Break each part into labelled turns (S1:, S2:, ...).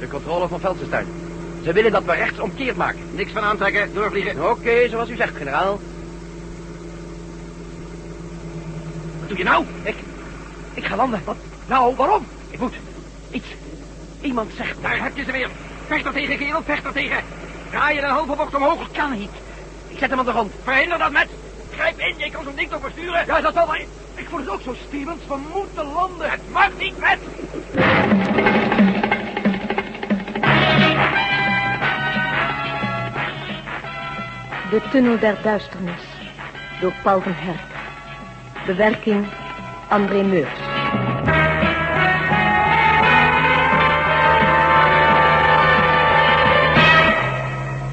S1: Eh, controle van Velsenstein. Ze willen dat we rechts omkeerd maken.
S2: Niks van aantrekken, doorvliegen.
S1: Oké, zoals u zegt, generaal.
S2: Wat doe je nou?
S1: Ik, ik ga landen. Wat? Nou, waarom? Ik moet. Iets. Iemand zegt
S2: Daar heb je ze weer. Vecht er tegen, kerel, vecht er tegen. Draai je een halve bocht omhoog.
S1: kan niet. Ik zet hem aan de grond.
S2: Verhinder dat met. Grijp in, je kan zo'n ding toch besturen.
S1: Ja, dat zal wel. Ik voel het ook zo, Stevens. We moeten landen.
S2: Het mag niet met.
S3: De Tunnel der Duisternis door Paul van Herk. Bewerking André Meurs.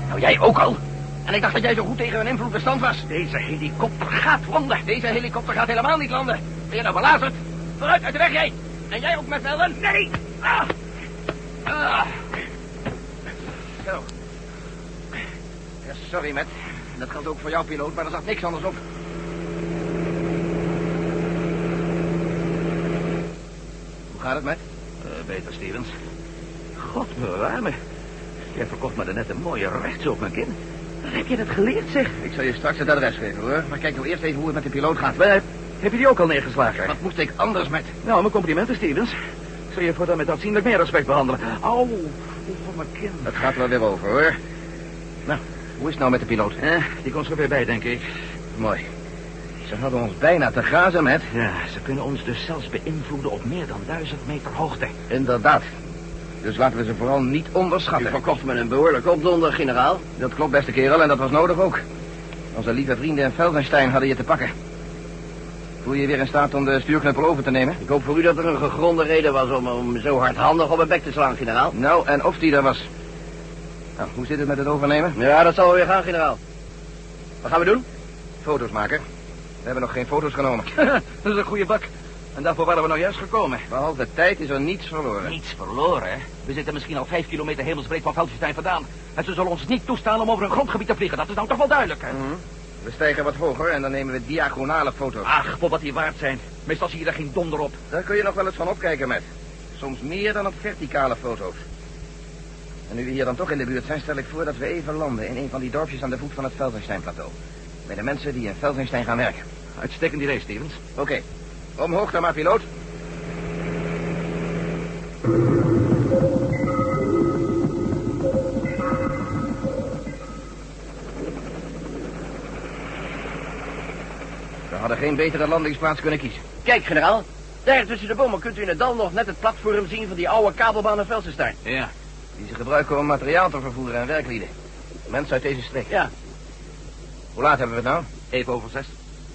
S2: Nou, jij ook al. En ik dacht dat jij zo goed tegen hun invloed bestand was. Deze helikopter gaat landen. Deze helikopter gaat helemaal niet landen. Ben je nou belazerd? Vooruit, uit de weg jij. En jij ook met velden? Nee. Ah. Ah. Zo. Ja, sorry, Matt. Dat geldt ook voor jou, piloot, maar er zat niks anders op. Hoe gaat het, Matt?
S1: Eh, beter, Stevens. God, me. Jij verkocht me net een mooie rechts op mijn kin. Waar heb je dat geleerd, zeg?
S2: Ik zal je straks het adres geven, hoor. Maar kijk nou eerst even hoe het met de piloot gaat.
S1: heb je die ook al neergeslagen?
S2: Wat moest ik anders met...
S1: Nou, mijn complimenten, Stevens. Ik zal je voortaan met aanzienlijk meer respect behandelen. Au, voor mijn kind.
S2: Dat gaat wel weer over, hoor. Nou, hoe is het nou met de piloot?
S1: Eh, die komt er weer bij, denk ik.
S2: Mooi. Ze hadden ons bijna te grazen, met.
S1: Ja, ze kunnen ons dus zelfs beïnvloeden op meer dan duizend meter hoogte.
S2: Inderdaad. Dus laten we ze vooral niet onderschatten.
S1: U
S2: verkocht me een behoorlijk opdonder, generaal. Dat klopt, beste kerel, en dat was nodig ook. Onze lieve vrienden in Felsenstein hadden je te pakken. Voel je je weer in staat om de stuurknuppel over te nemen?
S1: Ik hoop voor u dat er een gegronde reden was om hem zo hardhandig op mijn bek te slaan, generaal.
S2: Nou, en of die er was. Nou, hoe zit het met het overnemen?
S1: Ja, dat zal wel weer gaan, generaal. Wat gaan we doen?
S2: Foto's maken. We hebben nog geen foto's genomen.
S1: dat is een goede bak. En daarvoor waren we nou juist gekomen.
S2: Behalve tijd is er niets verloren.
S1: Niets verloren, hè? We zitten misschien al vijf kilometer hemelsbreed van Veldjestein vandaan. En ze zullen ons niet toestaan om over hun grondgebied te vliegen. Dat is nou toch wel duidelijk, hè?
S2: Mhm. We stijgen wat hoger en dan nemen we diagonale foto's.
S1: Ach, voor wat die waard zijn. Meestal zie je daar geen donder op.
S2: Daar kun je nog wel eens van opkijken, met. Soms meer dan op verticale foto's. En nu we hier dan toch in de buurt zijn, stel ik voor dat we even landen in een van die dorpjes aan de voet van het Velsensteinplateau. Bij de mensen die in Velsenstein gaan werken.
S1: Uitstekend idee, Stevens.
S2: Oké, omhoog dan maar, piloot. We hadden geen betere landingsplaats kunnen kiezen.
S1: Kijk, generaal. Daar tussen de bomen kunt u in het dal nog net het platform zien van die oude kabelbaan in Velsenstein. Ja.
S2: Die ze gebruiken om materiaal te vervoeren en werklieden. Mensen uit deze streek.
S1: Ja.
S2: Hoe laat hebben we het nou?
S1: Even over zes.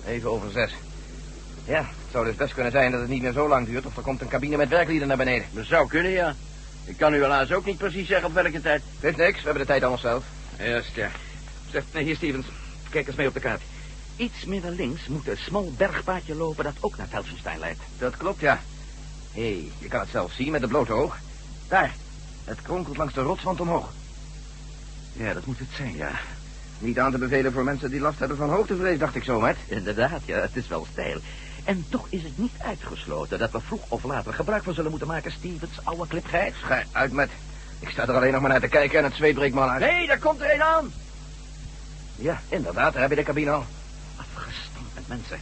S2: Even over zes. Ja, het zou dus best kunnen zijn dat het niet meer zo lang duurt... of er komt een cabine met werklieden naar beneden.
S1: Dat zou kunnen, ja. Ik kan u helaas ook niet precies zeggen op welke tijd.
S2: Geeft niks, we hebben de tijd aan onszelf.
S1: Juist, ja. Zeg, nee, hier, Stevens. Kijk eens mee op de kaart. Iets minder links moet een smal bergpaadje lopen dat ook naar Velsenstein leidt.
S2: Dat klopt, ja. Hé, hey, je kan het zelf zien met het blote oog. Daar, het kronkelt langs de rotswand omhoog.
S1: Ja, dat moet het zijn, ja.
S2: Niet aan te bevelen voor mensen die last hebben van hoogtevrees, dacht ik zo, met.
S1: Inderdaad, ja, het is wel stijl. En toch is het niet uitgesloten dat we vroeg of later gebruik van zullen moeten maken, Stevens, oude klipgeit.
S2: Schij uit met. Ik sta er alleen nog maar naar te kijken en het zweet breekt me al uit.
S1: Nee, daar komt er een aan.
S2: Ja, inderdaad, daar heb je de cabine al.
S1: Afgestemd met mensen.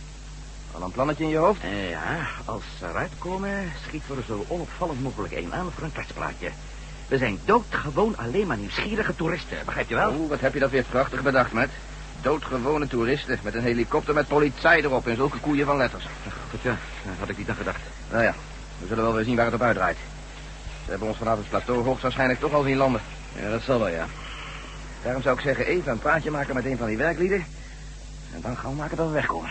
S2: Al een plannetje in je hoofd?
S1: Eh, ja, als ze eruit komen, schieten we er zo onopvallend mogelijk een aan voor een kletspraatje. We zijn doodgewoon alleen maar nieuwsgierige toeristen, begrijp je wel?
S2: Oeh, Oh, wat heb je dat weer prachtig bedacht, met. Doodgewone toeristen met een helikopter met politie erop en zulke koeien van letters.
S1: Goed, ja, had ik niet aan gedacht.
S2: Nou ja, we zullen wel weer zien waar het op uitdraait. Ze hebben ons vanaf het plateau hoogstwaarschijnlijk toch al zien landen.
S1: Ja, dat zal wel, ja.
S2: Daarom zou ik zeggen, even een praatje maken met een van die werklieden. En dan gauw maken dat we wegkomen.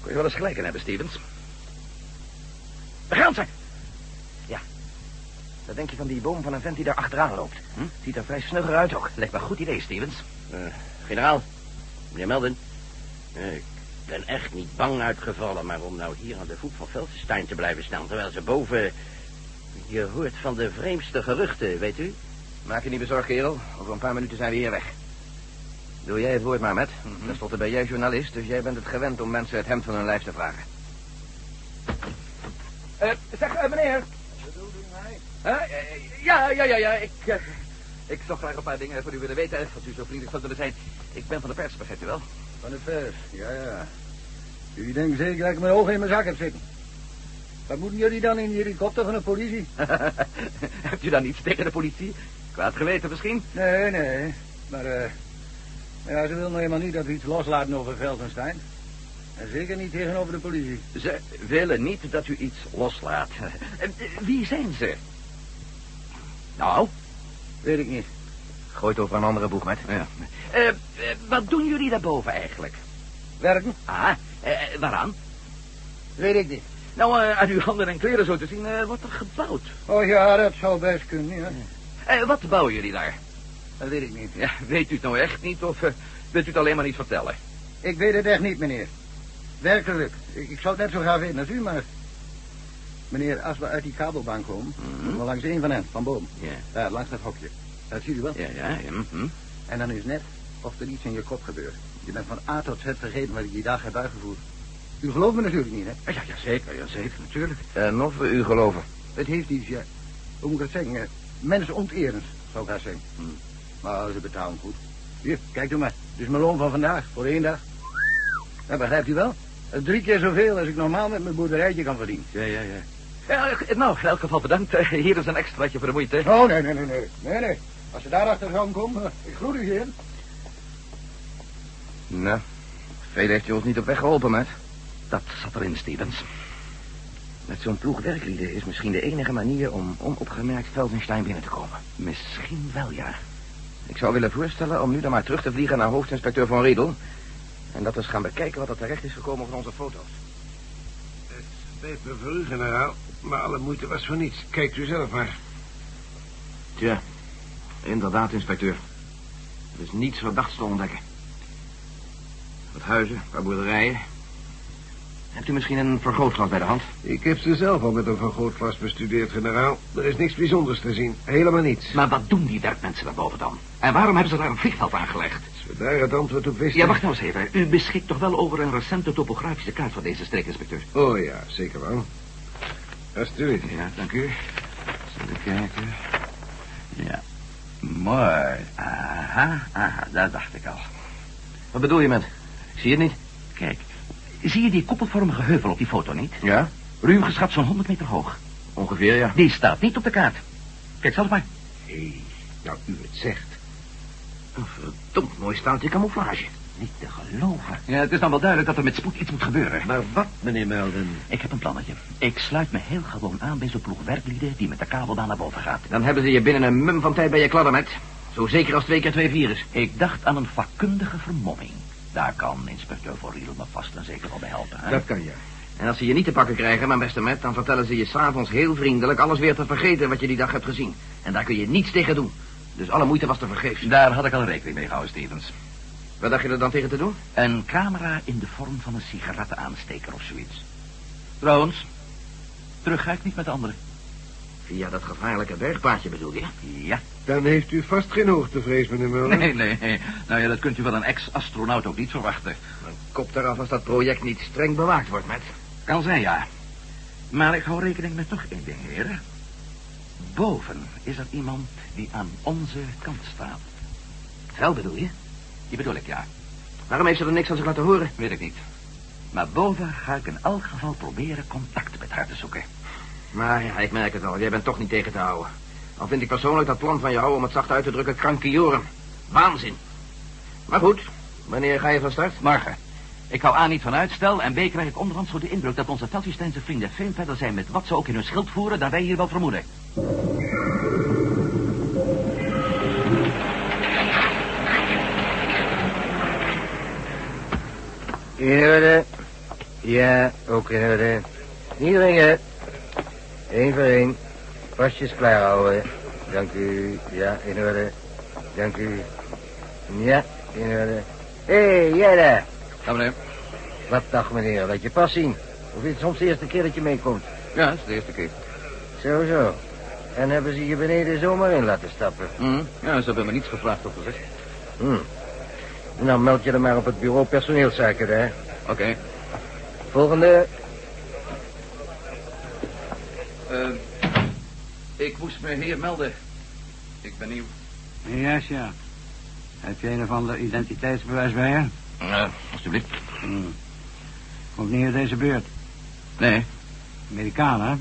S1: Kun je wel eens gelijk in hebben, Stevens. Daar gaan ze!
S2: Wat denk je van die boom van een vent die daar achteraan loopt?
S1: Hm?
S2: Ziet er vrij snugger uit ook.
S1: Lijkt me een goed idee, Stevens. Eh, generaal, meneer Melden. Eh, ik ben echt niet bang uitgevallen, maar om nou hier aan de voet van Velsenstein te blijven staan, terwijl ze boven... Je hoort van de vreemdste geruchten, weet u?
S2: Maak je niet bezorgd, kerel. Over een paar minuten zijn we hier weg. Doe jij het woord maar, met.
S1: Mhm.
S2: Ten slotte ben jij journalist, dus jij bent het gewend om mensen het hemd van hun lijf te vragen.
S1: zeg, meneer.
S2: Bedoel je mij?
S1: Huh? Eh, Ja, ja, ja, ja. Ik, eh, ik zou graag een paar dingen van u willen weten, als u zo vriendelijk zou willen zijn. Ik ben van de pers, begrijpt u wel?
S4: Van de pers, ja, ja. U denkt zeker dat ik mijn ogen in mijn zak heb zitten. Wat moeten jullie dan in die helikopter van de politie?
S1: Hebt u dan iets tegen de politie? Kwaad geweten misschien?
S4: Nee, nee. Maar, eh... Ja, ze wil nou helemaal niet dat we iets loslaten over Veldenstein. En zeker niet tegenover de politie.
S1: Ze willen niet dat u iets loslaat. Eh, Wie zijn ze? Nou,
S4: Weet ik niet.
S1: gooit over een andere boeg met. Ja. Eh, eh, wat doen jullie daarboven eigenlijk?
S4: Werken?
S1: Ah, eh, eh, waaraan?
S4: Weet ik niet.
S1: Nou, eh, aan uw handen en kleren zo te zien eh, wordt er gebouwd.
S4: Oh ja, dat zou best kunnen, ja.
S1: Eh, wat bouwen jullie daar?
S4: Dat weet ik niet.
S1: Ja, weet u het nou echt niet of eh, wilt u het alleen maar niet vertellen?
S4: Ik weet het echt niet, meneer. Werkelijk. Ik, ik zou het net zo graag weten als u, maar... Meneer, als we uit die kabelbaan komen... komen we langs een van hen, van boven.
S1: Ja.
S4: Daar, langs dat hokje. Dat ziet u wel.
S1: Ja, ja, ja. mhm.
S4: En dan is net of er iets in je kop gebeurt. Je bent van A tot Z vergeten wat ik die dag heb uitgevoerd. U gelooft me natuurlijk niet, hè?
S1: Ah, Ja, ja, zeker, ja, zeker, natuurlijk.
S2: En of we Eh, u geloven.
S4: Het heeft iets, ja... Hoe moet ik dat zeggen? Mensen onterend, zou ik haar zeggen.
S1: Hmm.
S4: Maar ze betalen goed. Hier, kijk u maar. Dit is mijn loon van vandaag, voor één dag. Dat begrijpt u wel? Dat is drie keer zoveel als ik normaal met mijn boerderijtje kan verdienen.
S1: Ja, ja, ja. nou, in elk geval bedankt. Eh, Hier is een extraatje voor de moeite.
S4: Oh, nee, nee, nee, nee. Nee, nee. Als ze daarachter zouden komen, eh, ik groet u hier.
S2: Nou, veel heeft u ons niet op weg geholpen, maat.
S1: Dat zat erin, Stevens.
S2: Met zo'n ploeg werklieden is misschien de enige manier om onopgemerkt Felsenstein binnen te komen.
S1: Misschien wel, ja.
S2: Ik zou willen voorstellen om nu dan maar terug te vliegen naar hoofdinspecteur Van Riedel. En dat we eens gaan bekijken wat er terecht is gekomen van onze foto's.
S5: Spijt me voor u, generaal, maar alle moeite was voor niets. Kijkt u zelf maar.
S2: Tja, inderdaad, inspecteur. Er is niets verdachts te ontdekken. Wat huizen, wat boerderijen. Hebt u misschien een vergrootglas bij de hand?
S5: Ik heb ze zelf al met een vergrootglas bestudeerd, generaal. Er is niks bijzonders te zien. Helemaal niets.
S1: Maar wat doen die werkmensen daarboven dan? En waarom hebben ze daar een vliegveld aangelegd?
S5: Als we daar het antwoord op wisten...
S1: Ja, wacht nou eens even. U beschikt toch wel over een recente topografische kaart van deze streek, inspecteur?
S5: Oh ja, zeker wel. Alsjeblieft.
S1: Ja, dank u. Zullen kijken. Ja. Mooi. Aha, aha, daar dacht ik al.
S2: Wat bedoel je met? Ik zie het niet.
S1: Kijk, zie je die koppelvormige heuvel op die foto niet?
S2: Ja?
S1: Ruw geschat zo'n 100 meter hoog.
S2: Ongeveer, ja.
S1: Die staat niet op de kaart. Kijk zelf maar.
S5: Hé, nou u het zegt.
S2: Een verdomd mooi staaltje camouflage.
S1: Niet Oh, te geloven. Ja, het is dan wel duidelijk dat er met spoed iets moet gebeuren.
S5: Maar wat, meneer Melden?
S1: Ik heb een plannetje. Ik sluit me heel gewoon aan bij zo'n ploeg werklieden die met de kabelbaan naar boven gaat.
S2: Dan hebben ze je binnen een mum van tijd bij je kladder met. Zo zeker als twee keer twee vier is.
S1: Ik dacht aan een vakkundige vermomming. Daar kan inspecteur Van Riedel me vast en zeker wel bij helpen. Hè?
S5: Dat kan ja.
S2: En als ze je niet te pakken krijgen, mijn beste Matt, dan vertellen ze je s'avonds heel vriendelijk alles weer te vergeten wat je die dag hebt gezien. En daar kun je niets tegen doen. Dus alle moeite was te vergeefs.
S1: Daar had ik al rekening mee gehouden, Stevens.
S2: Wat dacht je er dan tegen te doen?
S1: Een camera in de vorm van een sigarettenaansteker of zoiets. Trouwens, terug ga ik niet met de anderen.
S2: Via dat gevaarlijke bergpaadje bedoel je?
S1: Ja.
S5: Dan heeft u vast geen hoogtevrees, meneer Melden.
S1: Nee, nee, nee. Nou ja, dat kunt u van een ex-astronaut ook niet verwachten.
S2: Kop eraf als dat project niet streng bewaakt wordt, Matt.
S1: Kan zijn, ja. Maar ik hou rekening met nog één ding, heren. Boven is er iemand die aan onze kant staat.
S2: Wel bedoel je?
S1: Die bedoel ik, ja.
S2: Waarom heeft ze er niks aan zich laten horen?
S1: Weet ik niet. Maar boven ga ik in elk geval proberen contact met haar te zoeken.
S2: Maar ja, ik merk het al. Jij bent toch niet tegen te houden. Al vind ik persoonlijk dat plan van jou om het zacht uit te drukken krankioren. Waanzin. Maar goed, wanneer ga je van start?
S1: Morgen. Ik hou A niet van uitstel en B krijg ik onderhand zo de indruk dat onze Felsensteinse vrienden veel verder zijn met wat ze ook in hun schild voeren dan wij hier wel vermoeden.
S4: In orde. Ja, ook in orde. Niet ringen. Eén voor één. Pasjes klaar houden. Dank u. Ja, in orde. Dank u. Ja, in orde. Hé, hey, jij daar.
S2: Ja, meneer.
S4: Wat dag, meneer. Laat je pas zien. Of is het soms de eerste keer dat je meekomt?
S2: Ja, dat is de eerste keer.
S4: Zo, zo. En hebben ze je beneden zomaar in laten stappen?
S2: Mhm. Ja, ze hebben me niets gevraagd op gezegd.
S4: Hm. Nou, meld je er maar op het bureau personeelszaken, daar.
S2: Oké.
S4: Volgende.
S2: Eh, Ik moest me hier melden. Ik ben nieuw.
S4: Ja, ja. Heb je een of ander identiteitsbewijs bij je?
S2: Ja, alstublieft.
S4: Hm. Komt niet uit deze buurt.
S2: Nee,
S4: Amerikanen, hè?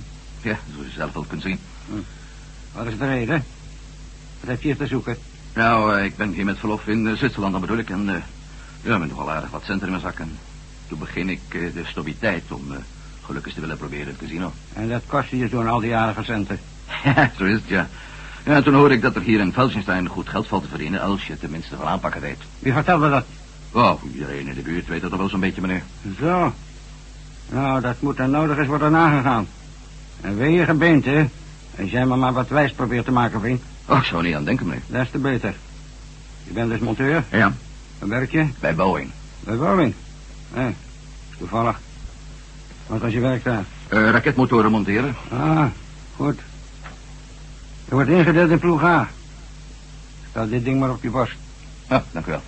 S2: ja, zoals je zelf wel kunt zien.
S4: Wat is de reden? Wat heb je hier te zoeken?
S2: Nou, eh, ik ben hier met verlof in eh, Zwitserland, dan bedoel ik. En eh, ja, met nogal aardig wat cent in mijn zak. En toen begin ik eh, de stobiteit om eh gelukkig te willen proberen in het casino.
S4: En dat kostte je toen al die aardige centen.
S2: Ja, zo is het, ja. Ja, toen hoorde ik dat er hier in Felsenstein goed geld valt te verdienen... als je het tenminste wel aanpakken deed.
S4: Wie vertelde dat?
S2: Oh, iedereen in de buurt weet dat toch wel zo'n beetje, meneer.
S4: Zo. Nou, dat moet dan nodig is worden nagegaan. En weer je gebeente, hè? Als jij me maar wat wijs probeert te maken, vriend,
S2: Oh, ik zou er niet aan denken, meneer.
S4: des te beter. Je bent dus monteur,
S2: Ja,
S4: een werkje,
S2: bij Boeing.
S4: bij woning. Hé, is toevallig. Wat was je werk daar?
S2: Eh, raketmotoren monteren.
S4: Ah, goed. Je wordt ingedeeld in ploeg A. Stel dit ding maar op je borst.
S2: Ja, dank u wel.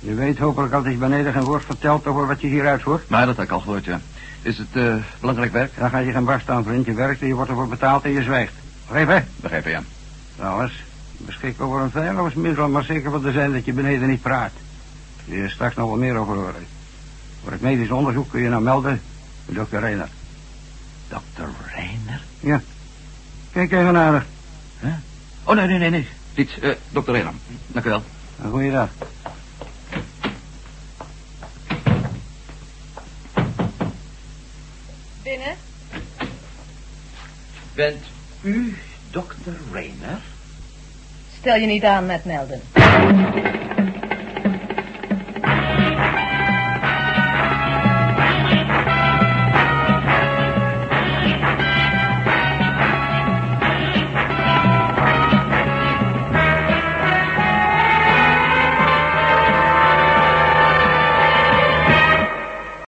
S4: Je weet hopelijk altijd beneden geen woord verteld over wat je hier uitvoert.
S2: Maar dat had ik al gehoord, ja. Is het eh, belangrijk werk?
S4: Dan ga je geen barst aan, vriend. Je werkt en je wordt ervoor betaald en je zwijgt. Begrepen?
S2: Begrijpen, ja.
S4: Trouwens, beschik over een veiligheidsmiddel, maar zeker van te zijn dat je beneden niet praat. Je is straks nog wel meer over horen. Voor het medisch onderzoek kun je nou melden bij dokter Reiner.
S2: Dokter Reiner?
S4: Kijk even naar
S2: Oh, nee, nee, nee, nee. Dit, eh, dokter Reiner. Dank u wel.
S4: Een goede dag.
S3: Binnen.
S2: Bent u dokter Reiner?
S3: Stel je niet aan met melden.